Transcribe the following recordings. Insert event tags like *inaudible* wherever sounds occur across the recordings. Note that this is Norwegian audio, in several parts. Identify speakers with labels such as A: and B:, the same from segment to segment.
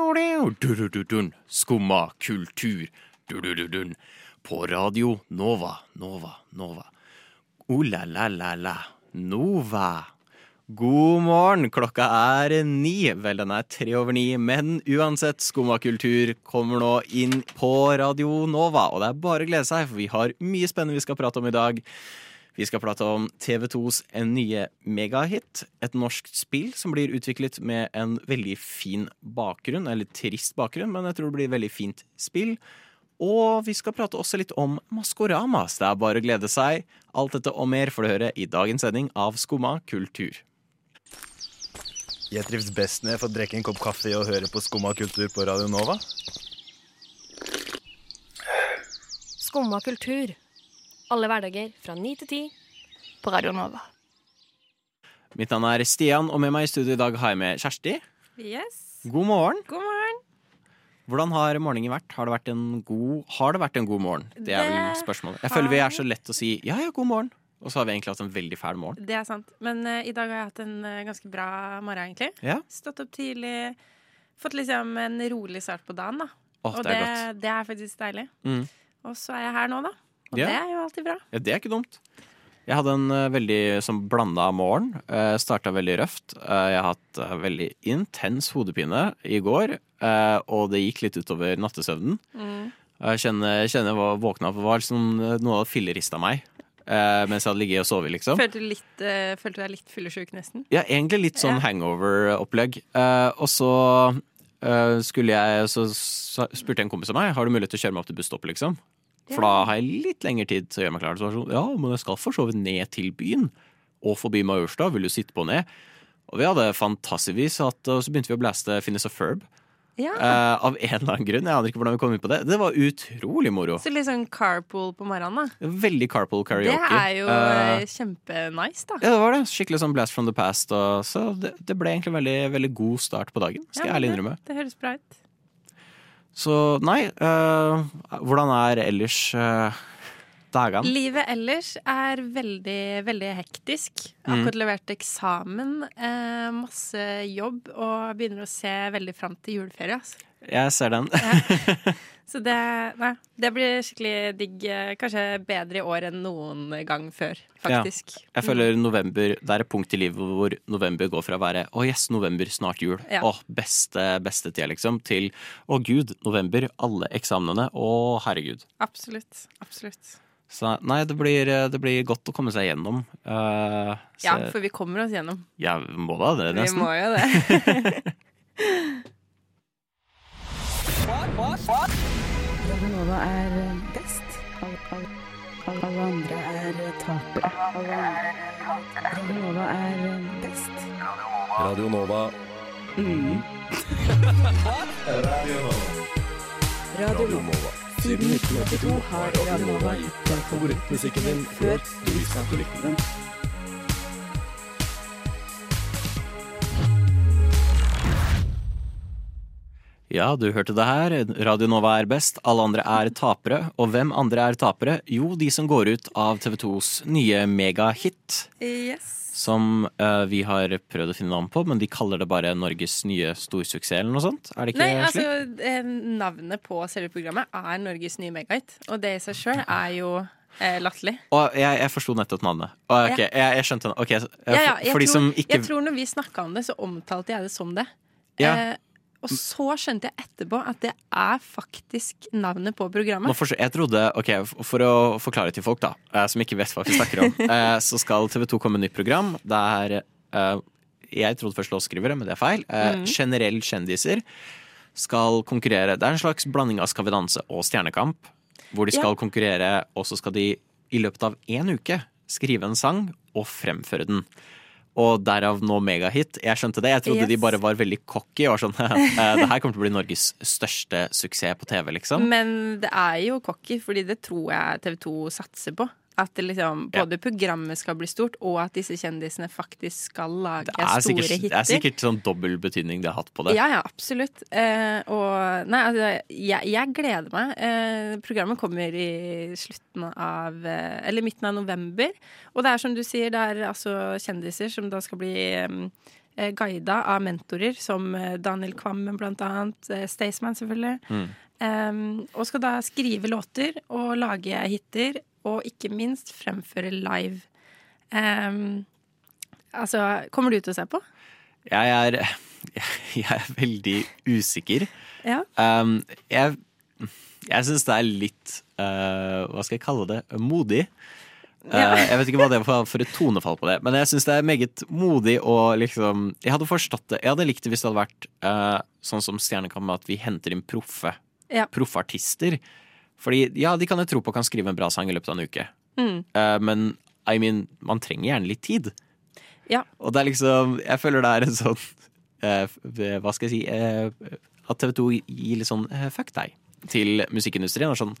A: Durududun. Skumma kultur. Durududun. På radio Nova, Nova, Nova. O-la-la-la-la. Nova. God morgen. Klokka er ni. Vel, den er tre over ni, men uansett, Skumma kultur kommer nå inn på Radio Nova. Og det er bare å glede seg, for vi har mye spennende vi skal prate om i dag. Vi skal prate om TV2s nye megahit. Et norsk spill som blir utviklet med en veldig fin bakgrunn. Eller trist bakgrunn, men jeg tror det blir veldig fint spill. Og vi skal prate også litt om Maskorama, så det er bare å glede seg. Alt dette og mer får du høre i dagens sending av Skumma kultur.
B: Jeg trives best når jeg får drikke en kopp kaffe og høre på Skumma kultur på Radio Nova.
C: Skumma kultur. Alle hverdager fra ni til ti på Radio Nova.
A: Mitt navn er Stian, og med meg i studio i dag har jeg med Kjersti.
D: Yes.
A: God morgen.
D: God morgen.
A: Hvordan har morgenen vært? Har det vært en god, har det vært en god morgen? Det er vel
D: Det
A: spørsmålet. Jeg
D: har-
A: føler vi er så lett å si ja, ja, god morgen. Og så har vi egentlig hatt en veldig fæl morgen.
D: Det er sant. Men eh, i dag har jeg hatt en eh, ganske bra morgen, egentlig.
A: Ja.
D: Stått opp tidlig. Fått liksom en rolig start på dagen, da.
A: Åh,
D: og
A: det er godt.
D: det er faktisk deilig.
A: Mm.
D: Og så er jeg her nå, da. Og
A: Ja.
D: det er jo alltid bra.
A: Ja, det er ikke dumt. Jeg hadde en eh, veldig sånn blanda morgen. Uh, Starta veldig røft. Eh, jeg har hatt eh, veldig intens hodepine i går, eh, og det gikk litt utover nattesøvnen. Og Jeg kjenner, jeg kjenner jeg var våkna på var som noe hadde fillerista meg eh, mens jeg hadde ligget og sovet, liksom.
D: Følte du, litt, eh, følte du deg litt fyllesyk, nesten?
A: Ja, egentlig litt sånn
D: Ja.
A: hangover-opplegg. Eh, og så eh, skulle jeg Så sa- spurte en kompis av meg Har du mulighet til å kjøre meg opp til busstoppet, liksom. For da har jeg litt lengre tid til å gjøre meg klar. Så var det sånn, ja, men jeg skal for så vidt ned til byen. Og forbi Majorstad. Vil du sitte på ned? Og vi hadde fantastisk vis hatt Og så begynte vi å blaste Finnes of Ferb.
D: Ja.
A: eh, av en eller annen grunn. Jeg aner ikke hvordan vi kom inn på det. Det var utrolig moro.
D: Så litt sånn carpool på morgenen, da.
A: Veldig carpool karaoke.
D: Det er jo
A: Eh,
D: eh, kjempenice, da.
A: ja, det var det. Skikkelig sånn blast from the past. Og så det, det ble egentlig veldig, veldig god start på dagen, skal
D: Ja,
A: jeg ærlig
D: men
A: innrømme.
D: Det, det høres bra ut.
A: Så nei, øh, hvordan er ellers øh, dagene?
D: Livet ellers er veldig, veldig hektisk.
A: Mm.
D: Akkurat levert eksamen, eh, masse jobb, og begynner å se veldig fram til juleferie. Altså.
A: Jeg ser den.
D: Så det, nei, det blir skikkelig digg. eh, Kanskje bedre i år enn noen gang før, faktisk.
A: Jeg føler november, det er et punkt i livet hvor november går fra å være å yes, november, snart jul,
D: Ja.
A: å beste, beste tida, liksom, til å gud, november, alle eksamenene, å herregud.
D: Absolutt. Absolutt.
A: Så nei, det blir, det blir godt å komme seg gjennom. Eh, så,
D: Ja, for vi kommer oss gjennom.
A: Jeg må da det,
D: Vi
A: nesten.
D: må jo
A: *laughs*
D: det.
E: Radio Nova er best. Alle, alle, alle, alle andre er tapere. Alle andre er tapere. Radio Nova er best.
B: Radio Nova.
E: Radio Nova. Siden 1982 har Radio Nova gitt deg favorittmusikken din før du visste at du likte den.
A: Ja, du hørte det her. Radio Nova er best, alle andre er tapere. Og hvem andre er tapere? Jo, de som går ut av TV2s nye megahit,
D: Yes.
A: som eh, vi har prøvd å finne navn på, men de kaller det bare Norges nye storsuksess eller noe sånt? Er det ikke
D: Nei, altså,
A: slik?
D: eh, navnet på selve programmet er Norges nye megahit, og det i seg sjøl er jo eh, latterlig.
A: Og jeg, jeg forsto nettopp navnet. Å, ok,
D: Ja.
A: jeg, jeg skjønte den. Ok, så-
D: ja,
A: for,
D: ja, jeg,
A: for de
D: tror,
A: som ikke
D: jeg tror når vi snakka om det, så omtalte jeg det som det.
A: Ja.
D: Eh, og så skjønte jeg etterpå at det er faktisk navnet på programmet.
A: Nå forstår- jeg trodde, ok, For å forklare til folk da, eh, som ikke vet hva vi snakker om, eh, så skal TV 2 komme med et nytt program. Det er eh, Jeg trodde først låtskrivere, men det er feil. Eh, Generell kjendiser skal konkurrere. Det er en slags blanding av Skal vi danse og Stjernekamp. Hvor de skal konkurrere, og så skal de i løpet av én uke skrive en sang og fremføre den. Og derav nå megahit. Jeg skjønte det. Jeg trodde de
D: Yes.
A: bare var veldig cocky. Og var sånn, *laughs* eh, det her kommer til å bli Norges største suksess på TV, liksom.
D: Men det er jo cocky, fordi det tror jeg TV 2 satser på. At det liksom,
A: Ja.
D: både programmet skal bli stort, og at disse kjendisene faktisk skal lage
A: Det er,
D: store
A: sikkert, det
D: hitter.
A: er sikkert sånn dobbel betydning de har hatt på det.
D: Ja, ja, absolutt. Eh, og nei, altså, jeg, jeg gleder meg. Eh, programmet kommer i slutten av eh, Eller midten av november. Og det er som du sier, det er altså kjendiser som da skal bli eh, eh, guida av mentorer som eh, Daniel Kvammen blant annet, eh, Staysman selvfølgelig. Em, og skal da skrive låter og lage hiter, og ikke minst fremføre live. Em, altså, kommer du til å se på?
A: Jeg er, *laughs* jeg er veldig usikker.
D: Ja.
A: Um, jeg jeg syns det er litt eh, Hva skal jeg kalle det? Modig. Eh,
D: Ja.
A: jeg vet ikke hva det var for et tonefall på det, men jeg syns det er meget modig og liksom Jeg hadde forstått det. Jeg hadde likt det hvis det hadde vært eh, sånn som Stjernekamp, med at vi henter inn proffe
D: Ja.
A: proffartister. Fordi ja, de kan jeg tro på kan skrive en bra sang i løpet av en uke.
D: Mm.
A: Eh, men I mean, man trenger gjerne litt tid.
D: Ja.
A: Og det er liksom Jeg føler det er en sånn eh, f- Hva skal jeg si eh, At TV 2 gir litt sånn eh, fuck deg til musikkindustrien. Og sånn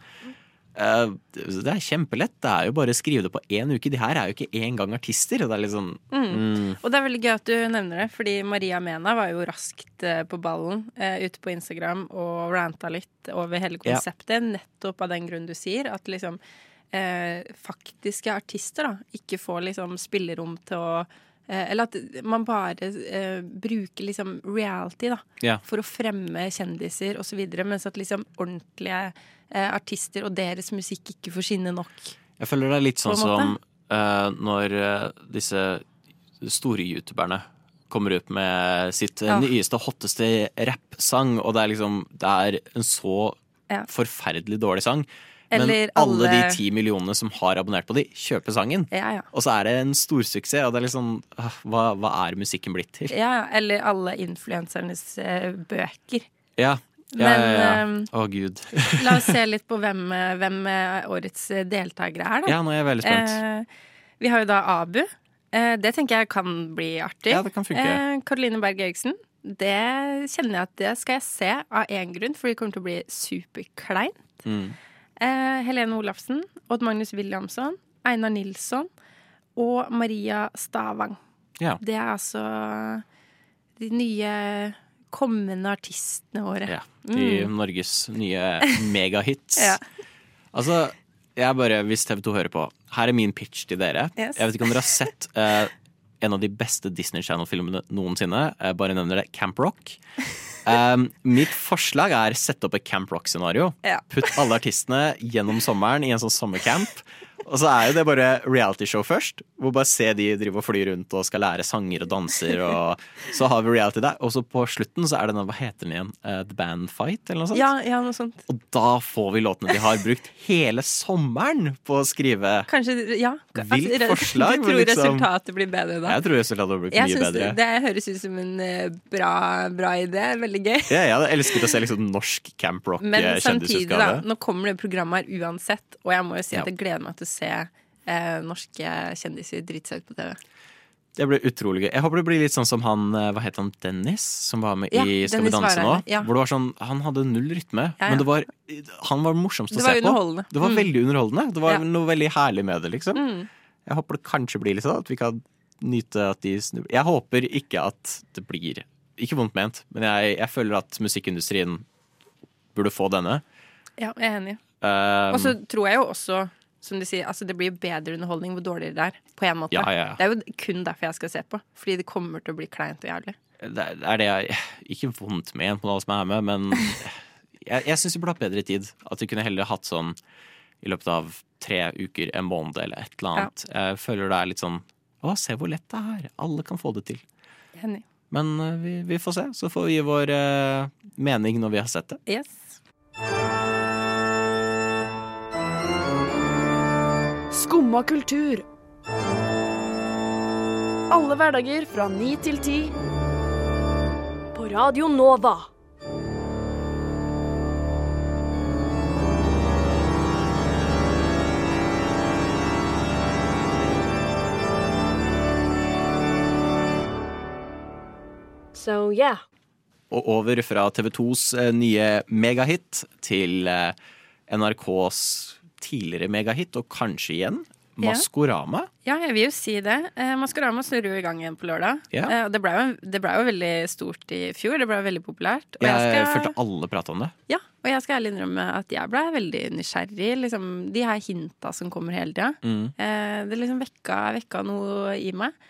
A: eh, Det er kjempelett. Det er jo bare å skrive det på én uke. De her er jo ikke engang artister. Og det er litt sånn mm,
D: Og det er veldig gøy at du nevner det, fordi Maria Mena var jo raskt eh, på ballen eh, ute på Instagram og ranta litt over hele
A: Ja.
D: konseptet, nettopp av den grunn du sier, at liksom eh, faktiske artister da, ikke får liksom spillerom til å eh, Eller at man bare eh, bruker liksom reality, da
A: Ja.
D: for å fremme kjendiser osv., mens at liksom ordentlige eh, artister og deres musikk ikke får skinne nok.
A: Jeg føler det er litt
D: På en
A: sånn som eh, når eh, disse store youtuberne kommer ut med sitt eh,
D: Ja.
A: nyeste, hotteste rappsang, og det er liksom Det er en så
D: Ja.
A: forferdelig dårlig sang.
D: Eller
A: men alle,
D: alle-
A: de ti millionene som har abonnert på de, kjøper sangen.
D: Ja, ja.
A: Og så er det en storsuksess, og det er liksom ah, hva, hva er musikken blitt til?
D: Ja, ja, eller alle influensernes eh, bøker.
A: Ja, ja, ja.
D: Men,
A: ja, ja.
D: ehm,
A: Å, gud.
D: La oss se litt på hvem, eh, hvem eh, årets eh, deltakere er, da.
A: Ja, nå er jeg veldig spent.
D: Eh, vi har jo da Abu. Eh, det tenker jeg kan bli artig.
A: Ja, det kan funke.
D: Eh, Karoline Berg Eriksen. Det kjenner jeg at det skal jeg se av én grunn, for det kommer til å bli superkleint.
A: Mm.
D: Eh, Helene Olafsen, Odd Magnus Williamson, Einar Nilsson og Maria Stavang.
A: Ja.
D: Det er altså de nye kommende artistene våre.
A: Ja, i Norges nye megahits.
D: Mm. *laughs* Ja.
A: Altså, jeg bare, hvis TV 2 hører på, her er min pitch til dere.
D: Yes.
A: Jeg vet ikke om dere har sett eh, en av de beste Disney Channel-filmene noensinne. Jeg bare nevner det. Camp
D: *laughs*
A: Rock. Um, mitt forslag er sette opp et Camp Rock-scenario.
D: Ja.
A: Putt alle artistene gjennom sommeren i en sånn sommercamp. Og så er jo det bare realityshow først, hvor bare se de drive og fly rundt og skal lære sanger og danser, og så har vi reality der. Og så på slutten så er det den, hva heter den igjen, Eh, The Band Fight, eller noe sånt?
D: Ja, ja, noe sånt.
A: Og da får vi låtene de har brukt hele sommeren på å skrive.
D: Kanskje, ja.
A: Vilt
D: Altså, re-
A: forslag,
D: Du
A: men
D: tror
A: liksom-
D: resultatet blir bedre da?
A: Jeg tror resultatet hadde blitt
D: Jeg
A: mye
D: synes
A: bedre.
D: det, det høres ut som en eh, bra, bra idé. Veldig gøy.
A: Ja, jeg hadde elsket å se liksom norsk Camp
D: Men samtidig,
A: Rock-kjendisutgave.
D: da. Nå kommer det programmet her uansett, og jeg må jo si
A: Ja.
D: at jeg gleder meg til å se eh, norske kjendiser drite seg ut på TV.
A: Det blir utrolig gøy. Jeg håper det blir litt sånn som han eh, hva heter han, Dennis, som var med
D: Ja,
A: i Skal vi
D: Dennis
A: danse nå.
D: Varheim, ja.
A: Hvor det var sånn, Han hadde null rytme,
D: Ja, ja.
A: men det var, han var morsomst
D: Det
A: å
D: var
A: se på.
D: underholdende.
A: Det var
D: Mm.
A: veldig underholdende. Det var
D: Ja.
A: noe veldig herlig med det, liksom.
D: Mm.
A: Jeg håper det kanskje blir litt sånn at vi kan nyte at de snubler Jeg håper ikke at det blir Ikke vondt ment, men jeg, jeg føler at musikkindustrien burde få denne.
D: Ja, jeg er enig.
A: Um,
D: Og så tror jeg jo også, som du sier, altså det blir jo bedre underholdning hvor dårligere det er. På en måte.
A: Ja, ja, ja.
D: Det er jo kun derfor jeg skal se på. Fordi det kommer til å bli kleint og jævlig.
A: det er- det er det jeg Ikke vondt ment mot alle som er med, men jeg, jeg syns vi burde hatt bedre tid. At vi kunne heller hatt sånn i løpet av tre uker, en måned eller et eller annet. Jeg føler det er litt sånn Å, se hvor lett det er. Alle kan få det til.
D: Jeg er enig.
A: Men eh, vi, vi får se. Så får vi gi vår eh, mening når vi har sett det.
D: Yes.
F: Skumma kultur. Alle hverdager fra ni til ti.
C: På Radio Nova. So yeah.
A: Og over fra TV2s eh, nye megahit til eh, NRKs tidligere megahit, og kanskje igjen,
D: Ja.
A: Maskorama.
D: Ja, jeg vil jo si det. Eh, Maskorama snurrer jo i gang igjen på lørdag.
A: Ja.
D: Eh, og det ble, jo, det ble jo veldig stort i fjor. Det ble jo veldig populært. Og
A: Jeg,
D: jeg skal,
A: følte alle prate om det.
D: ja, og jeg skal ærlig innrømme at jeg ble veldig nysgjerrig. Liksom,
A: Mm.
D: de her hinta som kommer hele tida. Eh, det liksom vekka, vekka noe i meg.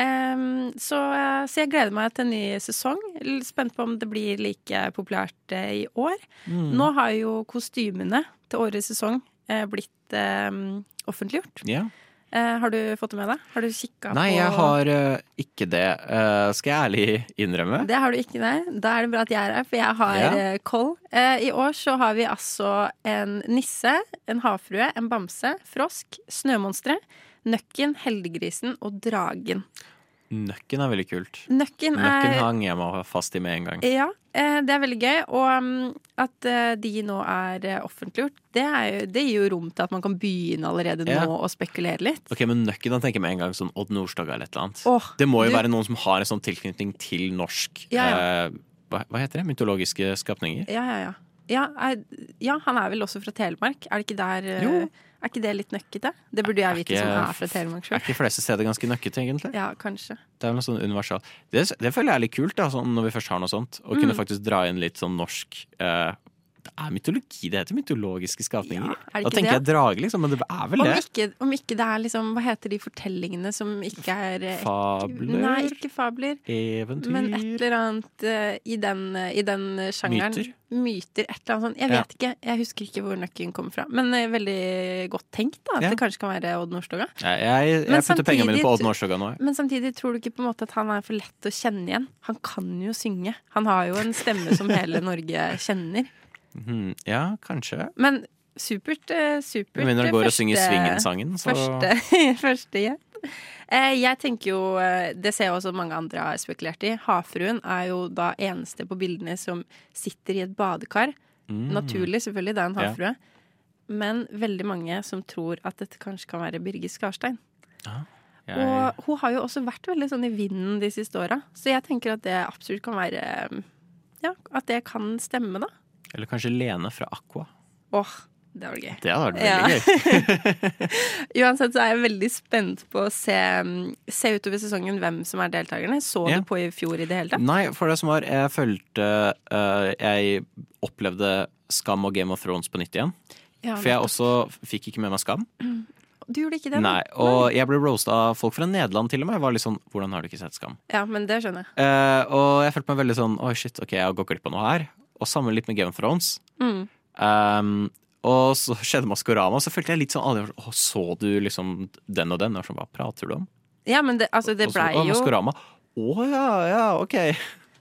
D: Ehm, så, eh, så jeg gleder meg til en ny sesong. L- Spent på om det blir like populært eh, i år.
A: Mm.
D: Nå har jo kostymene til årets sesong eh, blitt eh, offentliggjort.
A: Ja.
D: Eh, har du fått det med deg? Har du kikka på
A: Nei, jeg har eh, ikke det. Eh, skal jeg ærlig innrømme?
D: Det har du ikke, nei. Da er det bra at jeg er her, for jeg har
A: Ja.
D: eh, koll. Eh, I år så har vi altså en nisse, en havfrue, en bamse, frosk, snømonstre, nøkken, heldiggrisen og dragen.
A: Nøkken er veldig kult.
D: Nøkken
A: Nøkken
D: er
A: hang jeg meg fast i med en gang.
D: ja, eh, det er veldig gøy. Og mm, at eh, de nå er eh, offentliggjort, det, er jo, det gir jo rom til at man kan begynne allerede
A: Ja.
D: nå å spekulere litt.
A: Ok, men Nøkken han tenker med en gang sånn Odd Nordstoga eller et eller annet.
D: Åh,
A: det må jo
D: du-
A: være noen som har en sånn tilknytning til norsk
D: Ja, ja.
A: eh, hva, hva heter det? Mytologiske skapninger?
D: Ja, ja, ja. Ja, er, ja, han er vel også fra Telemark. Er det ikke der eh,
A: Jo.
D: Er ikke det litt nøkkete? Det burde jeg vite
A: ikke-
D: som er fra Telemark
A: Er
D: sjøl.
A: ikke de fleste steder ganske nøkkete, egentlig?
D: Ja, kanskje.
A: Det er noe sånn universal Det, det føler jeg er litt kult, da, sånn, når vi først har noe sånt. Å
D: Mm.
A: kunne faktisk dra inn litt sånn norsk eh, Det er mytologi, det heter mytologiske skapninger.
D: Ja, er det
A: da
D: ikke
A: tenker jeg
D: det?
A: drage, liksom, men det er vel
D: Om
A: det?
D: ikke, om ikke det er liksom Hva heter de fortellingene som ikke er eh, ek-
A: Fabler?
D: Nei, ikke fabler.
A: Eventyr?
D: Men et eller annet eh, i den, eh, i den eh, sjangeren.
A: Myter?
D: Myter, et eller annet sånt. Jeg
A: Ja.
D: vet ikke. Jeg husker ikke hvor nøkken kommer fra. Men eh, veldig godt tenkt, da. At
A: Ja.
D: det kanskje kan være Odd Nordstoga.
A: Nei, jeg jeg
D: Men
A: putter pengene mine på
D: samtidig-
A: Odd Nordstoga nå. jeg.
D: Men samtidig tror du ikke på en måte at han er for lett å kjenne igjen? Han kan jo synge. Han har jo en stemme som hele Norge kjenner.
A: Hmm, ja, kanskje.
D: Men supert, eh, supert.
A: Med mindre han går og synger
D: første-
A: Svingen-sangen, så
D: Første, *laughs* første gjett. Eh, Jeg tenker jo, eh, det ser jeg også mange andre har spekulert i, havfruen er jo da eneste på bildene som sitter i et badekar.
A: Mm.
D: Naturlig, selvfølgelig, det er en
A: Ja.
D: havfrue. Men veldig mange som tror at dette kanskje kan være Birger Skarstein.
A: Jeg,
D: Og hun har jo også vært veldig sånn i vinden de siste åra, så jeg tenker at det absolutt kan være eh, Ja, at det kan stemme, da.
A: Eller kanskje Lene fra Aqua.
D: Åh, det var gøy.
A: Det hadde vært
D: Ja.
A: veldig gøy. *laughs*
D: Uansett så er jeg veldig spent på å se, mm, se utover sesongen hvem som er deltakerne. Så
A: Ja. Mm,
D: du på i fjor i det hele tatt?
A: Nei, for det som var, jeg følte eh, Jeg opplevde Skam og Game of Thrones på nytt igjen.
D: Ja,
A: For jeg også fikk ikke med meg Skam.
D: Du gjorde ikke det? da?
A: Nei, Og jeg ble roasta av folk fra Nederland til og med. Jeg var litt sånn, Hvordan har du ikke sett Skam?
D: Ja, men det skjønner jeg.
A: Eh, og jeg følte meg veldig sånn Oi, shit, ok, jeg går glipp av noe her. Og sammen litt med Game of Thrones.
D: Mm.
A: Um, og så skjedde Maskorama, og så følte jeg litt sånn alvor. Å, så du liksom den og den? Og sånn, Hva prater du om?
D: Ja, men det, altså, det
A: og så,
D: blei
A: «Å,
D: jo,
A: Maskorama. Å ja, ja, ok.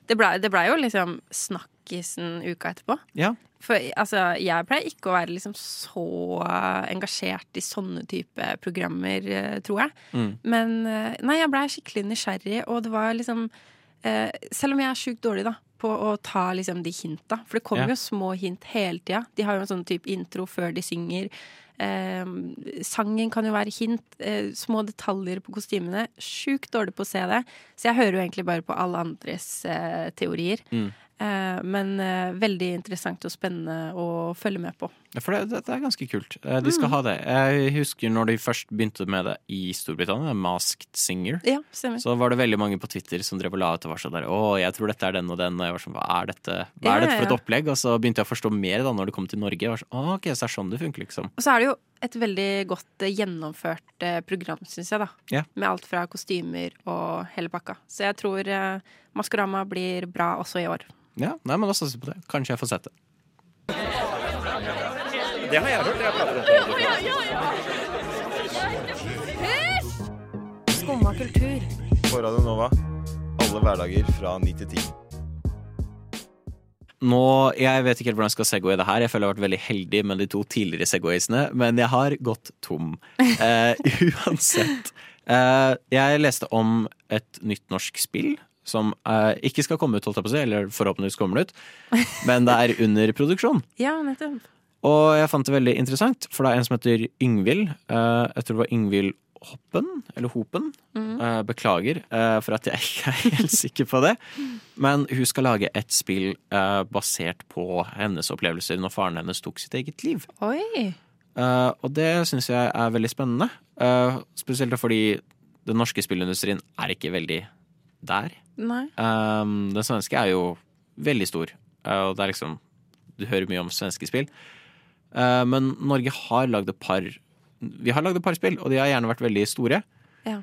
D: det ble, det ble jo liksom snakkisen uka etterpå.
A: Ja.
D: For altså, jeg pleier ikke å være liksom så eh, engasjert i sånne type programmer, eh, tror jeg.
A: Mm.
D: Men eh, nei, jeg blei skikkelig nysgjerrig, og det var liksom eh, Selv om jeg er sjukt dårlig da på å ta liksom de hinta, for det kommer
A: Ja.
D: jo små hint hele tida. De har jo en sånn type intro før de synger. Eh, sangen kan jo være hint. Eh, små detaljer på kostymene. Sjukt dårlig på å se det. Så jeg hører jo egentlig bare på alle andres eh, teorier.
A: Mm.
D: Eh, men eh, veldig interessant og spennende å følge med på.
A: For det, det, det er ganske kult. Eh, De skal
D: Mm.
A: ha det. Jeg husker når de først begynte med det i Storbritannia, Masked Singer.
D: Ja, stemmer.
A: Så var det veldig mange på Twitter som drev og la ut og var sånn der Å, jeg tror dette er den og den, og jeg var sånn Hva er dette, Hva
D: Ja,
A: er dette for
D: ja.
A: et opplegg? Og så begynte jeg å forstå mer da når det kom til Norge. Jeg var sånn, «Å, ok, så det er sånn det funker, liksom.
D: Og så er det jo et veldig godt eh, gjennomført eh, program, syns jeg, da.
A: Ja.
D: Med alt fra kostymer og hele pakka. Så jeg tror eh, Maskorama blir bra også i år.
A: Ja, nei, men da satser vi på det. Kanskje jeg får sett det.
C: Skumma kultur.
B: På Radio Nova. Alle hverdager fra 9 til 10.
A: Nå, Jeg vet ikke helt hvordan jeg skal segway det her. Jeg føler jeg har vært veldig heldig med de to tidligere segwaysene, men jeg har gått
D: *laughs*
A: tom. Eh, uansett. Eh, jeg leste om et nytt norsk spill som eh, ikke skal komme ut, holdt jeg på å si, eller forhåpentligvis kommer det ut, men det er under produksjon.
D: Ja, nettopp.
A: Og jeg fant det veldig interessant, for det er en som heter Yngvild. Eh, jeg tror det var Yngvild Hoppen, eller Hopen. Eh, beklager eh, for at jeg ikke er helt sikker på det. Men hun skal lage et spill eh, basert på hennes opplevelser når faren hennes tok sitt eget liv.
D: Oi!
A: Eh, og det syns jeg er veldig spennende. Eh, spesielt fordi den norske spillindustrien er ikke veldig der.
D: Nei.
A: Um, den svenske er jo veldig stor, uh, og det er liksom Du hører mye om svenske spill. Uh, men Norge har lagd et par Vi har lagd et par spill, og de har gjerne vært veldig store.
D: Ja.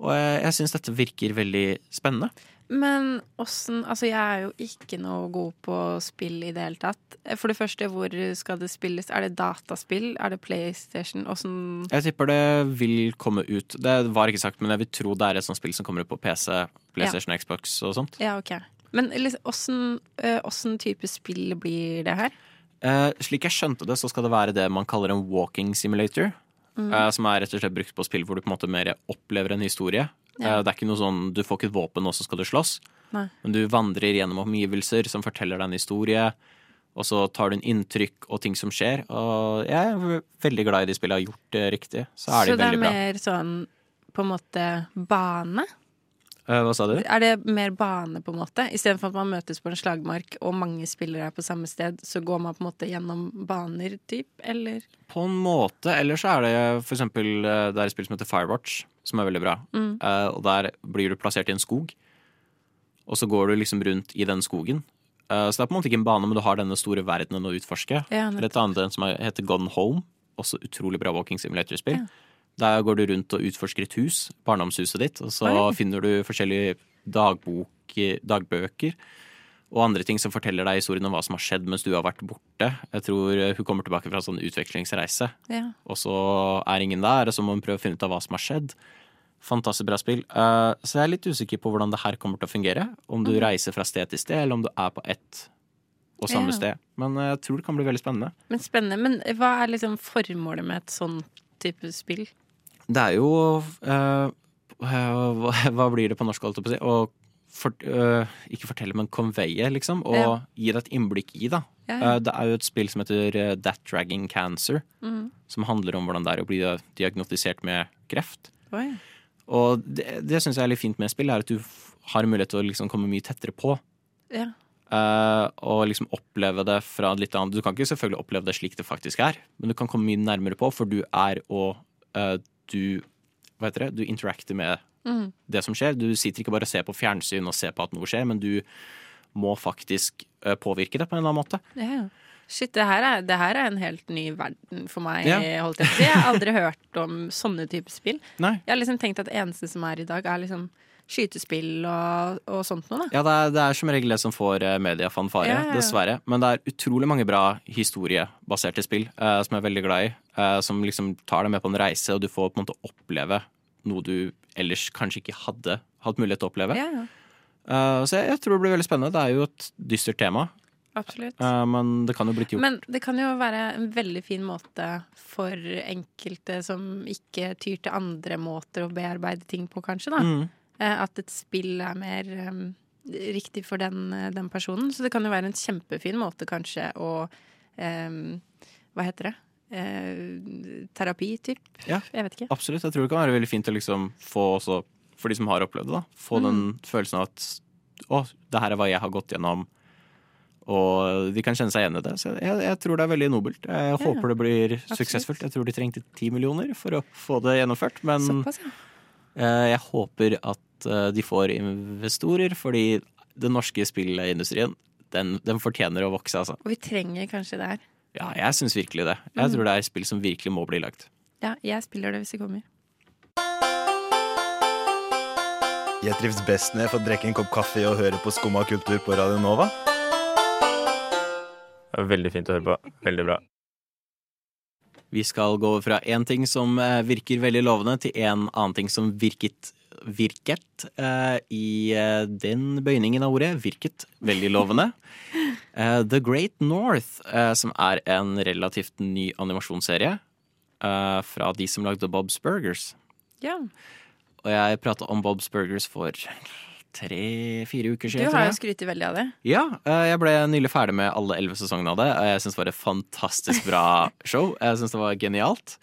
A: Og jeg, jeg syns dette virker veldig spennende.
D: Men åssen Altså, jeg er jo ikke noe god på spill i det hele tatt. Eh, For det første, hvor skal det spilles? Er det dataspill? Er det PlayStation? Åssen
A: Jeg tipper det vil komme ut. Det var ikke sagt, men jeg vil tro det er et sånt spill som kommer ut på PC, PlayStation, Xbox og sånt.
D: Ja, OK. Men liksom, åssen eh, åssen type spill blir det her?
A: Eh, slik jeg skjønte det, så skal det være det man kaller en walking simulator.
D: Mm.
A: eh, som er rett og slett brukt på spill hvor du på en måte mer opplever en historie.
D: Ja.
A: Eh, det er ikke noe sånn du får ikke et våpen, og så skal du slåss.
D: Nei.
A: Men du vandrer gjennom omgivelser som forteller deg en historie. Og så tar du en inntrykk og ting som skjer. Og jeg er v- veldig glad i de spillene jeg har gjort det riktig. Så er de
D: Så det er
A: veldig bra.
D: mer sånn på en måte bane?
A: Eh, hva sa du?
D: Er det mer bane, på en måte? Istedenfor at man møtes på en slagmark og mange spillere er på samme sted, så går man på en måte gjennom baner, typ? Eller?
A: På en måte. Eller så er det for eksempel eh, Det er et spill som heter Firewatch, som er veldig bra.
D: Mm.
A: Eh, og der blir du plassert i en skog, og så går du liksom rundt i den skogen. Eh, så det er på en måte ikke en bane, men du har denne store verdenen å utforske.
D: Ja, nettopp.
A: Eller et annet en som er- heter Gone Home, også utrolig bra walking simulator-spill. Der går du rundt og utforsker et hus, barndomshuset ditt, og så finner du forskjellige dagbok, dagbøker og andre ting som forteller deg historien om hva som har skjedd mens du har vært borte. Jeg tror eh, hun kommer tilbake fra en sånn utvekslingsreise,
D: Ja.
A: og så er ingen der, og så må hun prøve å finne ut av hva som har skjedd. Fantastisk bra spill. Eh, så jeg er litt usikker på hvordan det her kommer til å fungere. Om
D: Mhm.
A: du reiser fra sted til sted, eller om du er på ett og samme
D: Ja.
A: sted. Men eh, jeg tror det kan bli veldig spennende.
D: Men spennende. Men hva er liksom formålet med et sånn type spill?
A: Det er jo eh, *laughs* hva, hva blir det på norsk, holdt jeg på å si? Å fort- eh, ikke fortelle, men conveye, liksom. Og
D: Ja. Mhm.
A: gi deg et innblikk i, da.
D: Ja, ja.
A: Eh, det er jo et spill som heter eh, That Dragging Cancer.
D: Mhm.
A: Som handler om hvordan det er å bli diagnostisert med kreft.
D: Oi.
A: Og det, det syns jeg er litt fint med spill, er at du f- har mulighet til å liksom komme mye tettere på.
D: Ja.
A: eh, og liksom oppleve det fra litt annet Du kan ikke selvfølgelig oppleve det slik det faktisk er, men du kan komme mye nærmere på, for du er og eh, du Hva heter det? Du interacter med det som skjer. Du sitter ikke bare og ser på fjernsyn og ser på at noe skjer, men du må faktisk eh, påvirke det på en eller annen måte.
D: Ja, ja. Shit, det her, er, det her er en helt ny verden for meg.
A: Ja.
D: Holdt jeg, på å si. jeg har aldri hørt om sånne typer spill.
A: Nei.
D: Jeg har liksom tenkt at det eneste som er i dag, er liksom skytespill og, og sånt noe. Da.
A: Ja, det er, det er som regel det som får eh, mediefanfare,
D: Ja, ja, ja.
A: dessverre. Men det er utrolig mange bra historiebaserte spill eh, som jeg er veldig glad i. eh, som liksom tar deg med på en reise, og du får på en måte oppleve noe du ellers kanskje ikke hadde hatt mulighet til å oppleve.
D: Ja, ja.
A: Eh, så jeg, jeg tror det blir veldig spennende. Det er jo et dystert tema,
D: Absolutt.
A: eh, men det kan jo blitt gjort.
D: Men det kan jo være en veldig fin måte for enkelte som ikke tyr til andre måter å bearbeide ting på, kanskje. da.
A: Mm.
D: Eh, At et spill er mer em, riktig for den, eh, den personen. Så det kan jo være en kjempefin måte kanskje å em, Hva heter det? Eh, terapi, typ?
A: Ja.
D: Jeg vet ikke.
A: Absolutt. Jeg tror det kan være veldig fint å liksom få også, for de som har opplevd det, da, få den følelsen av at å, det her er hva jeg har gått gjennom, og de kan kjenne seg igjen i det. Så jeg, jeg tror det er veldig nobelt. Jeg håper det blir suksessfullt. Jeg tror de trengte ti millioner for å få det gjennomført, men
D: Såpass, ja.
A: eh, jeg håper at eh, de får investorer, fordi den norske spillindustrien, den, den fortjener å vokse, altså.
D: Og vi trenger kanskje det her.
A: Ja, jeg syns virkelig det. Jeg tror det er spill som virkelig må bli lagt.
D: Ja, jeg spiller det hvis det kommer.
B: Jeg trives best når jeg får drikke en kopp kaffe og høre på Skumma kultur på Radio Nova.
G: Det er veldig fint å høre på. Veldig bra.
A: Vi skal gå over fra én ting som eh, virker veldig lovende, til en annen ting som virket virket eh, i eh, den bøyningen av ordet. Virket veldig
D: *laughs*
A: lovende. Eh, The Great North, eh, som er en relativt ny animasjonsserie eh, fra de som lagde Bob's Burgers.
D: Ja.
A: Og jeg prata om Bob's Burgers for tre-fire uker
D: Du
A: siden. tror
D: har
A: jeg.
D: jo skrytt veldig av det.
A: Ja, eh, jeg ble nylig ferdig med alle elleve sesongene av det. Og jeg syns det var et fantastisk
D: *laughs*
A: bra show. Jeg syns det var genialt.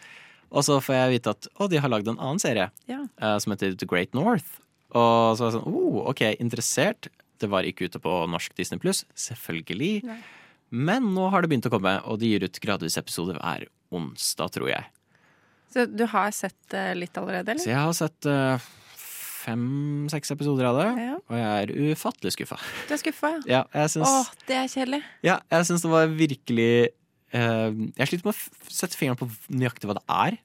A: Og så får jeg vite at å, de har lagd en annen serie
D: Ja.
A: eh, som heter The Great North. Og så var jeg sånn oh, OK, interessert. Det var ikke ute på norsk Disney pluss, selvfølgelig. Men nå har det begynt å komme, og de gir ut gradvis episoder hver onsdag, tror jeg.
D: Så du har sett eh, litt allerede,
A: Så
D: eller?
A: jeg har sett fem-seks episoder av det,
D: Ja.
A: og jeg er ufattelig skuffa.
D: Du er skuffa, ja.
A: Ja, jeg syns
D: Åh, det er kjedelig.
A: Ja, jeg syns det var virkelig eh, Jeg sliter med å f- sette fingeren på nøyaktig hva det er,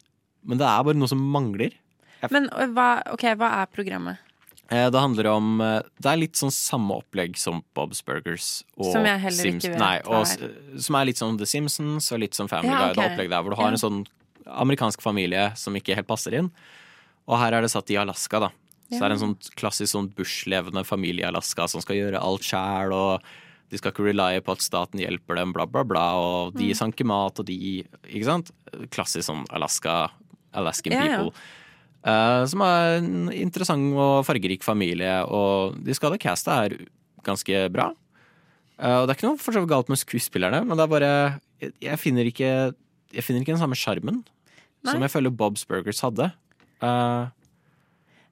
A: men det er bare noe som mangler.
D: Men ø, hva, ok, hva er programmet?
A: Eh, Det handler om eh, Det er litt sånn samme opplegg som Bob's Burgers og
D: Som jeg heller ikke
A: Sims-
D: vet
A: Nei,
D: hva
A: og, s- Som er litt som The Simpsons og litt som Family
D: Ja,
A: Guy. Det
D: ok.
A: er opplegg der hvor du har
D: Ja.
A: en sånn amerikansk familie som ikke helt passer inn. Og her er det satt i Alaska, da. Så det er en sånn klassisk sånn bushlevende familie i Alaska som skal gjøre alt sjæl, og de skal ikke relye på at staten hjelper dem, bla, bla, bla, og
D: Mm.
A: de sanker mat, og de Ikke sant? Klassisk sånn Alaska, Alaskan
D: Ja, ja.
A: people. Eh, som er en interessant og fargerik familie, og de skada castet er ganske bra. Eh, og det er ikke noe for så vidt galt med skuespillerne, men det er bare Jeg, jeg finner ikke Jeg finner ikke den samme sjarmen
D: Nei.
A: som jeg føler Bob's Burgers hadde. Eh,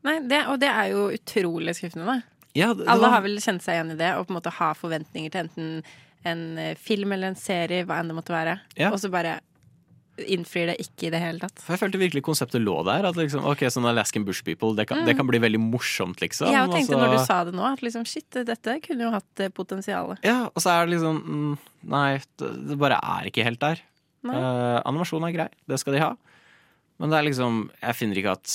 D: Nei, det, Og det er jo utrolig skuffende, da.
A: ja, det, det
D: Alle
A: var-
D: har vel kjent seg igjen i det, og på en måte har forventninger til enten en eh, film eller en serie, hva enn det måtte være,
A: Ja.
D: og så bare innfrir det ikke i det hele tatt.
A: For jeg følte virkelig konseptet lå der. At liksom, ok, sånn Alaskan Bush People, det kan, det kan bli veldig morsomt, liksom.
D: Mm. Jeg tenkte
A: og så-
D: når du sa det nå, at liksom shit, dette kunne jo hatt eh, potensial.
A: Ja, og så er det liksom mm, Nei, det, det bare er ikke helt der.
D: Nei.
A: Eh, animasjon er grei, det skal de ha. Men det er liksom Jeg finner ikke at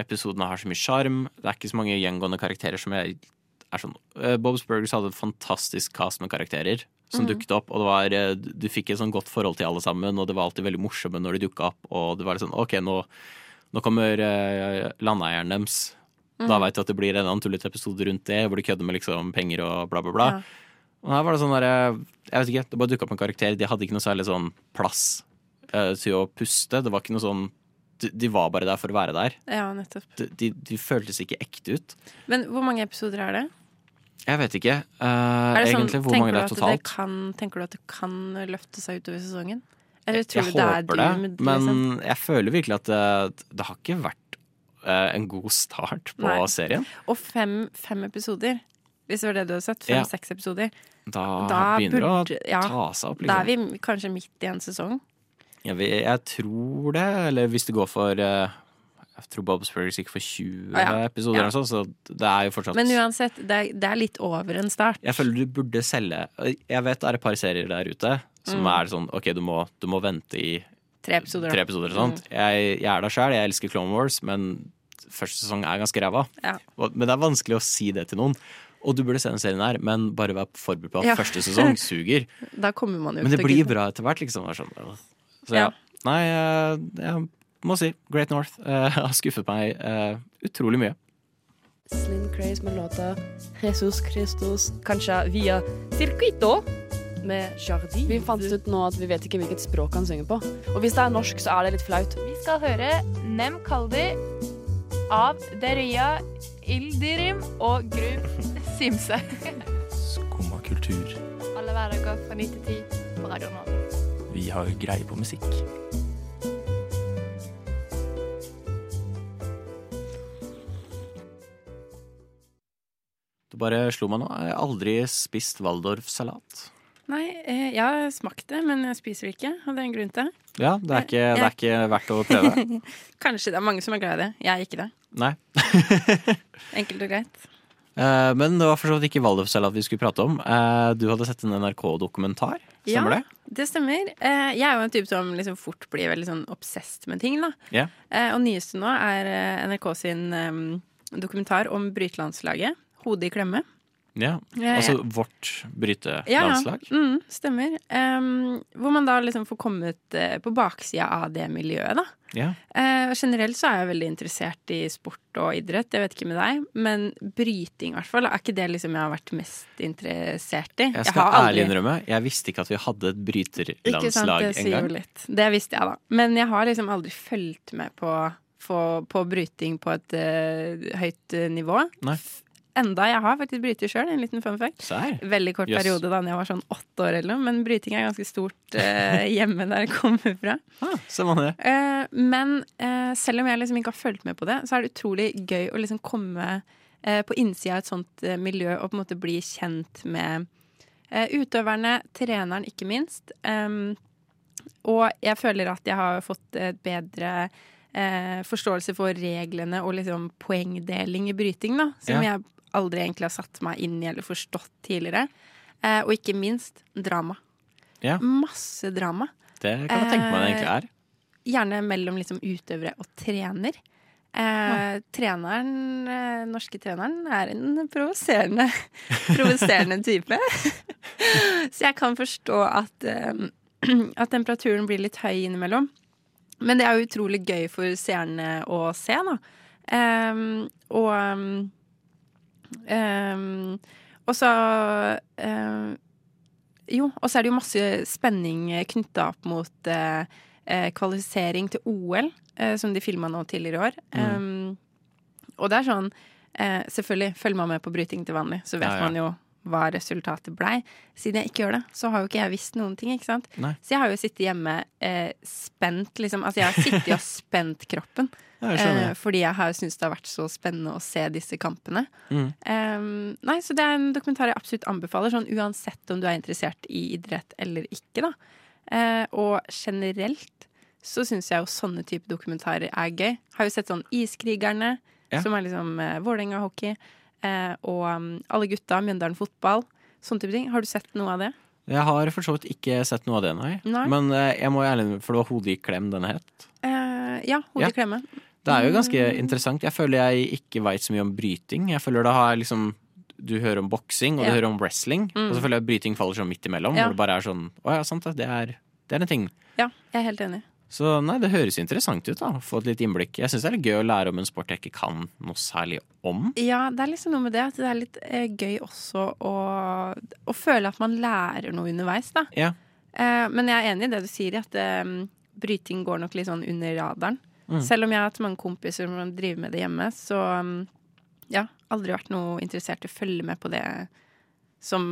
A: episodene har så mye sjarm. Det er ikke så mange gjengående karakterer som jeg er sånn Eh, Bob's Burgers hadde et fantastisk cast med karakterer
D: Mhm.
A: som dukket opp, og det var eh, Du fikk et sånn godt forhold til alle sammen, og det var alltid veldig morsomme når de dukka opp, og det var litt sånn OK, nå, nå kommer eh, landeieren deres. Da
D: Mhm.
A: veit du at det blir en eller annen tullete episode rundt det, hvor de kødder med liksom penger og bla, bla, bla.
D: Ja.
A: Og her var det sånn der, jeg vet ikke, det bare dukket opp en karakter, de hadde ikke noe særlig sånn plass eh, til å puste, det var ikke noe sånn, de, de var bare der for å være der.
D: Ja, nettopp.
A: De, de, de føltes ikke ekte ut.
D: Men hvor mange episoder er det?
A: Jeg vet ikke eh,
D: Er det sånn,
A: egentlig hvor
D: tenker
A: mange det
D: du
A: er
D: at
A: totalt.
D: Det kan, tenker du at det kan løfte seg utover sesongen? Eller tror
A: Jeg
D: du det er
A: håper det,
D: doomed,
A: men
D: liksom?
A: jeg føler virkelig at det, det har ikke vært eh, en god start på
D: Nei.
A: serien.
D: Og fem, fem episoder. Hvis det var det du hadde sett.
A: Ja.
D: Fem-seks episoder.
A: Da,
D: Da
A: begynner det
D: burde-
A: å
D: ja,
A: ta seg opp.
D: Da
A: Liksom.
D: er vi kanskje midt i en sesong.
A: Jeg, vet- jeg tror det, eller hvis det går for eh, Jeg tror Bob's Burgers gikk for 20
D: Å ja,
A: episoder,
D: ja.
A: eller noe sånt, så det er jo fortsatt
D: Men uansett, det er, det er litt over en start.
A: Jeg føler du burde selge Jeg vet det er et par serier der ute som
D: Mm.
A: er sånn OK, du må, du må vente i
D: Tre episoder. da.
A: tre episoder og sånt.
D: Mm.
A: Jeg, jeg er der sjøl, jeg elsker Clone Wars, men første sesong er ganske ræva.
D: Ja.
A: Og- Men det er vanskelig å si det til noen. Og du burde se den serien her, men bare vær forberedt på at
D: Ja.
A: første
D: *laughs*
A: sesong suger.
D: Da kommer man jo
A: Men det
D: ikke til å
A: blir
D: gidde.
A: bra etter hvert, liksom. Det er Sånn. Så
D: Ja.
A: ja. Nei, eh, jeg må si Great North eh, *laughs* har skuffet meg eh, utrolig mye.
F: Slim Craze med låta Jesus Christus Kanskje via Circuito med Jardin.
H: Vi fant ut nå at vi vet ikke hvilket språk han synger på.
F: Og hvis det er norsk, så er det litt flaut.
I: Vi skal høre Nem Kaldi av Derya Ildirim og Grub Simse.
J: Skumma kultur.
I: Alle hverdager fra 9 til 10 på Radio Nova.
J: Vi har greie på musikk.
A: Det bare slo meg nå. Jeg har aldri spist Waldorf-salat.
D: Nei, eh, jeg har smakt det, men jeg spiser det ikke. Og det er en grunn til det.
A: Ja, det er ikke, det er ikke verdt å prøve.
D: *laughs* Kanskje det er mange som er glad i det. Jeg er ikke det.
A: Nei.
D: Enkelt og greit.
A: Eh, men det var for så vidt ikke Waldorfsalat vi skulle prate om. Eh, du hadde sett en NRK-dokumentar, stemmer
D: ja,
A: det?
D: det? stemmer. Eh, jeg er jo en type som liksom fort blir veldig sånn obsessed med ting, da.
A: Ja.
D: Eh, og nyeste nå er eh, NRK sin eh, dokumentar om brytelandslaget. Hodet i klemme.
A: Ja.
D: Ja,
A: Altså
D: ja.
A: vårt
D: Ja,
A: brytelandslag.
D: Ja, mm, stemmer. Em, hvor man da liksom får kommet eh, på baksida av det miljøet, da.
A: Ja.
D: Eh, og generelt så er jeg veldig interessert i sport og idrett, jeg vet ikke med deg. Men bryting, i hvert fall, er ikke det liksom jeg har vært mest interessert i.
A: Jeg
D: har
A: skal ærlig innrømme, jeg visste ikke at vi hadde et
D: Ikke sant,
A: bryterlandslag
D: det sier jo
A: engang.
D: litt. Det visste jeg, da. Men jeg har liksom aldri fulgt med på, på, på bryting på et eh, høyt eh, nivå.
A: Nei.
D: Enda jeg har faktisk bryter sjøl, en liten fun fact.
A: Sær.
D: Veldig kort
A: Jøss.
D: periode da jeg var sånn åtte år eller noe, men bryting er ganske stort eh, *laughs* hjemme der jeg kommer fra.
A: Ah, ser man det.
D: Eh, men eh, selv om jeg liksom ikke har fulgt med på det, så er det utrolig gøy å liksom komme eh, på innsida av et sånt eh, miljø og på en måte bli kjent med eh, utøverne, treneren ikke minst. Em, og jeg føler at jeg har fått et bedre eh, forståelse for reglene og liksom poengdeling i bryting, da. Som
A: Ja.
D: jeg aldri egentlig har satt meg inn i eller forstått tidligere. Eh, og ikke minst drama.
A: Ja.
D: Masse drama Eh,
A: Det kan jeg tenke meg det egentlig er.
D: gjerne mellom liksom utøvere og trener. Eh, treneren, eh, norske treneren er en provoserende, *laughs* provoserende type. *laughs* Så jeg kan forstå at, eh, *clears throat* at temperaturen blir litt høy innimellom. Men det er jo utrolig gøy for seerne å se, da. Eh, og eh, Og så eh, jo, og så er det jo masse spenning knytta opp mot eh, eh, kvalifisering til OL, eh, som de filma nå tidligere i år.
A: Mm.
D: Um, og det er sånn eh, Selvfølgelig, følger man med på bryting til vanlig, så vet
A: Ja, ja.
D: man jo hva resultatet blei. Siden jeg ikke gjør det, så har jo ikke jeg visst noen ting, ikke sant.
A: Nei.
D: Så jeg har jo sittet hjemme eh, spent, liksom. Altså, jeg har sittet og *laughs* spent kroppen.
A: Ja, jeg skjønner.
D: eh, fordi jeg har syntes det har vært så spennende å se disse kampene.
A: Mm.
D: Ehm, nei, så det er en dokumentar jeg absolutt anbefaler, sånn uansett om du er interessert i idrett eller ikke, da. Eh, og generelt så syns jeg jo sånne type dokumentarer er gøy. Har jo sett sånn Iskrigerne,
A: Ja.
D: som er liksom eh, Vålerenga hockey, eh, og um, Alle gutta, Mjøndalen fotball. Sånne type ting. Har du sett noe av det?
A: Jeg har for så vidt ikke sett noe av det, nei.
D: Nei.
A: Men eh, jeg må ærlig for det var Hodet i klem den het.
D: Eh, ja, Hodet
A: Ja.
D: i klemme.
A: Det er jo ganske
D: Mm.
A: interessant. Jeg føler jeg ikke veit så mye om bryting. Jeg føler da har jeg liksom Du hører om boksing, og
D: Ja.
A: du hører om wrestling.
D: Mm.
A: Og så føler jeg bryting faller sånn midt imellom,
D: Ja.
A: hvor det bare er sånn Å ja, sant det. Det er, det er en ting.
D: Ja, jeg er helt enig.
A: Så nei, det høres jo interessant ut, da. Få et litt innblikk. Jeg syns det er litt gøy å lære om en sport jeg ikke kan noe særlig om.
D: Ja, det er liksom noe med det at det er litt eh, gøy også å, å føle at man lærer noe underveis, da.
A: Ja.
D: Eh, men jeg er enig i det du sier, at eh, bryting går nok litt sånn under radaren.
A: Mm.
D: Selv om jeg har hatt mange kompiser som driver med det hjemme, så mm, ja, aldri vært noe interessert i å følge med på det som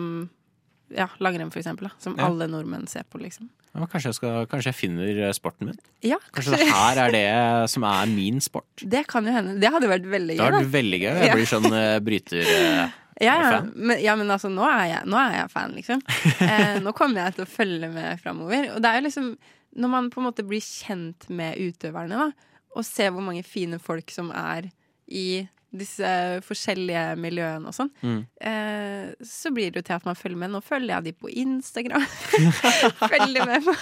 D: ja, langrenn, for eksempel, da, som
A: Ja.
D: alle nordmenn ser på, liksom.
A: Ja, men kanskje, jeg skal, kanskje jeg finner eh, sporten min.
D: Ja,
A: Kanskje det her er det som er min sport.
D: *laughs* det kan jo hende. Det hadde vært veldig
A: Det
D: gøy,
A: har
D: da.
A: vært veldig gøy. Jeg
D: Ja.
A: blir sånn eh, bryter... eh,
D: Ja,
A: Er du
D: ja.
A: fan?
D: Men, ja, men altså, nå er jeg, nå er jeg fan,
A: *laughs*
D: liksom. Eh, nå kommer jeg til å følge med framover. Og det er jo liksom Når man på en måte blir kjent med utøverne, da, og ser hvor mange fine folk som er i disse forskjellige miljøene og sånn,
A: Mm.
D: eh, så blir det jo til at man følger med. Nå følger jeg de på
A: *laughs*
D: Instagram. følger, med på,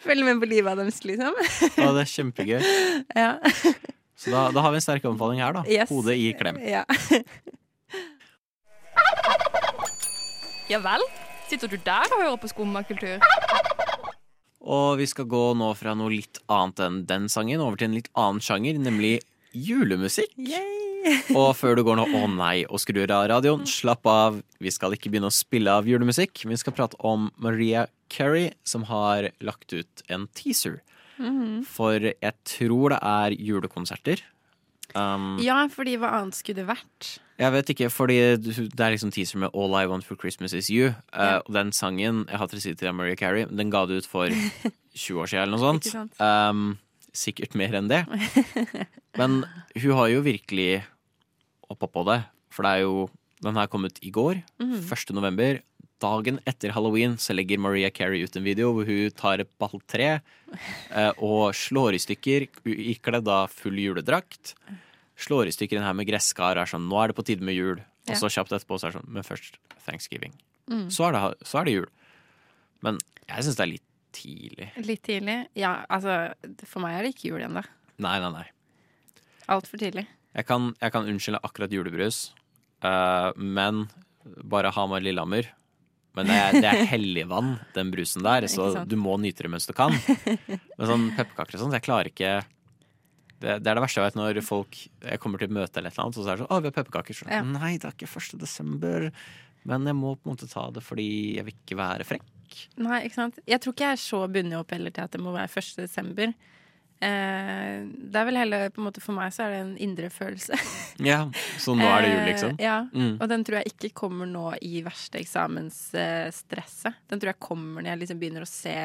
D: følger med på livet deres, liksom.
A: Ja, det er kjempegøy.
D: Ja.
A: Så da, da har vi en sterk anbefaling her, da.
D: Yes.
A: Hodet i klem.
D: ja.
I: Ja vel? Sitter du der og hører på skummakultur?
A: Og vi skal gå nå fra noe litt annet enn den sangen, over til en litt annen sjanger, nemlig julemusikk. og før du går nå, å nei, og skrur av radioen, slapp av. Vi skal ikke begynne å spille av julemusikk, men vi skal prate om Maria Carey, som har lagt ut en teaser. For jeg tror det er julekonserter. Um,
D: ja, fordi hva annet skulle det vært?
A: *laughs* Jeg vet ikke, fordi det er liksom teaser med All I Want For Christmas Is You. eh,
D: Ja.
A: Og den sangen, jeg har til å si til deg, Maria Carey, den ga du ut
D: *laughs*
A: for 20 år siden eller noe sånt.
D: Ikke sant?
A: Um, sikkert mer enn det. Men hun har jo virkelig hoppa på det. For det er jo Den her kom ut i går,
D: Mm.
A: 1. november. Dagen etter halloween så legger Maria Carey ut en video hvor hun tar et balltre eh, og slår i stykker, ikledd av full juledrakt slår i stykker den her med gresskar og er sånn Nå er det på tide med jul. Og
D: Ja. Mm.
A: så kjapt etterpå så er det sånn Men først thanksgiving. Så, er det, så er det jul. Men jeg syns det er litt tidlig.
D: Litt tidlig? Ja, altså for meg er det ikke jul ennå.
A: Nei, nei, nei.
D: Altfor tidlig.
A: Jeg kan, jeg kan unnskylde akkurat julebrus, eh, men bare Hamar Lillehammer. Men det er, det er helligvann, den brusen der, så
D: *laughs* Ikke sant.
A: du må nyte det mens du kan. Men sånn pepperkaker og sånt, jeg klarer ikke det, det er det verste jeg vet når folk Jeg kommer til et møte eller et eller annet, og så er det sånn 'Å, vi har pepperkaker.' Sånn,
D: Ja.
A: Nei, det er ikke 1. desember. Men jeg må på en måte ta det fordi jeg vil ikke være frekk.
D: Nei, ikke sant? Jeg tror ikke jeg er så bundet opp heller til at det må være 1. desember. Eh, det er vel heller på en måte For meg så er det en indre følelse.
A: Ja, Så nå er det jul,
D: Eh,
A: liksom?
D: ja.
A: Mm.
D: Og den tror jeg ikke kommer nå i verste eksamensstresset. Den tror jeg kommer når jeg liksom begynner å se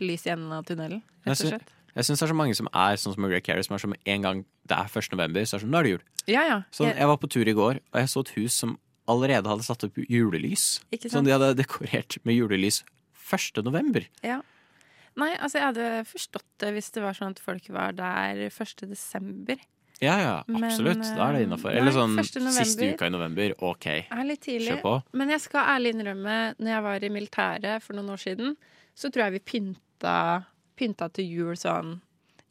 D: lys i enden av tunnelen, rett og
A: Jeg sy-
D: slett.
A: Jeg syns det er så mange som er sånn som Maria Carey, som er sånn med en gang det er 1. november, så er det sånn 'Nå er det jul'.
D: Ja, ja.
A: Sånn,
D: Jeg,
A: jeg var på tur i går, og jeg så et hus som allerede hadde satt opp julelys.
D: Ikke sant?
A: Som de hadde dekorert med julelys 1. november.
D: ja. Nei, altså jeg hadde forstått det hvis det var sånn at folk var der 1. desember.
A: Ja, ja,
D: Men,
A: absolutt. da er det
D: eh,
A: innafor.
D: nei,
A: Eller sånn
D: 1. november.
A: siste uka i november, OK,
D: er litt tidlig.
A: kjør på.
D: Men jeg skal ærlig innrømme, når jeg var i militæret for noen år siden, så tror jeg vi pynta, pynta til jul sånn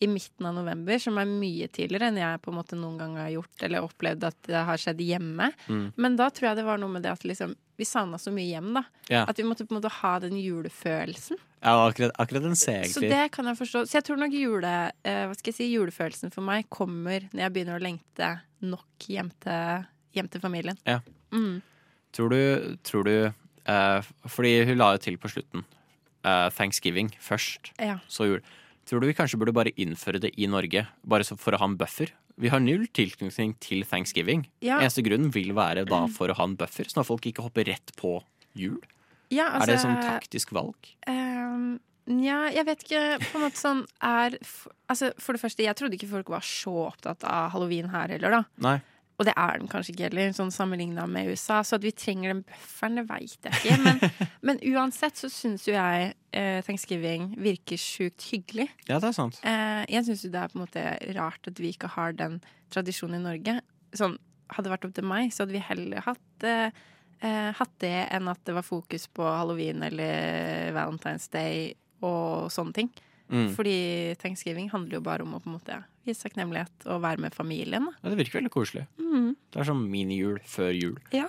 D: i midten av november, som er mye tidligere enn jeg på en måte noen gang har gjort eller opplevd at det har skjedd hjemme.
A: Mm.
D: Men da tror jeg det var noe med det at liksom, vi savna så mye hjem, da.
A: Ja.
D: At vi måtte på en måte ha den julefølelsen.
A: Ja, akkurat, akkurat den ser jeg
D: Så
A: egentlig.
D: det kan jeg forstå. Så jeg tror nok jule, eh, hva skal jeg si, julefølelsen for meg kommer når jeg begynner å lengte nok hjem til, hjem til familien.
A: Ja.
D: Mm.
A: Tror du, tror du eh, Fordi hun la jo til på slutten. eh, Thanksgiving først,
D: Ja.
A: så jul. Tror du vi kanskje burde bare innføre det i Norge, bare så for å ha en buffer? Vi har null tilknytning til thanksgiving.
D: Ja. Mm.
A: Eneste grunnen vil være da for å ha en buffer, sånn at folk ikke hopper rett på jul.
D: Ja,
A: er det
D: altså-
A: sånn taktisk valg?
D: Ehm, Nja, jeg vet ikke. På en måte sånn er f- Altså, for det første, jeg trodde ikke folk var så opptatt av halloween her heller, da.
A: Nei.
D: Og det er den kanskje ikke heller, sånn sammenligna med USA. Så at vi trenger den bufferen, det veit jeg ikke. Men, men uansett så syns jo jeg eh, thanksgiving virker sjukt hyggelig.
A: Ja, det er sant.
D: Eh, jeg syns jo det er på en måte rart at vi ikke har den tradisjonen i Norge. Sånn, hadde det vært opp til meg, så hadde vi heller hatt, eh, eh, hatt det enn at det var fokus på halloween eller Valentine's Day og sånne ting.
A: Mm.
D: Fordi thanksgiving handler jo bare om å på en måte vise takknemlighet og være med familien. Da.
A: Ja, det virker veldig koselig.
D: Mm.
A: Det er sånn minijul før jul.
D: Ja.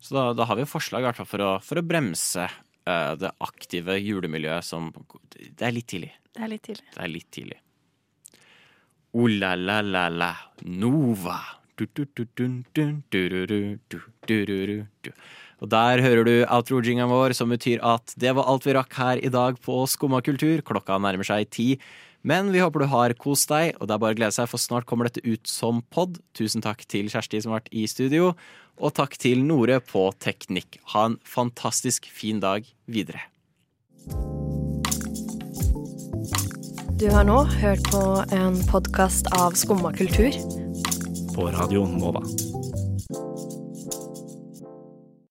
A: Så da, da har vi et forslag i hvert fall for å, for å bremse eh, det aktive julemiljøet som Det er litt tidlig.
D: Det er litt tidlig.
A: Det er litt tidlig. O-la-la-la-la, Nova. Du, du, du, dun, dun, dururu, du, dururu, du. Og der hører du outro-jingeren vår, som betyr at det var alt vi rakk her i dag på Skumma kultur. Klokka nærmer seg ti. Men vi håper du har kost deg, og det er bare å glede seg, for snart kommer dette ut som pod. Tusen takk til Kjersti som har vært i studio, og takk til Nore på Teknikk. Ha en fantastisk fin dag videre.
C: Du har nå hørt på en podkast av Skumma kultur.
K: På radioen Nova.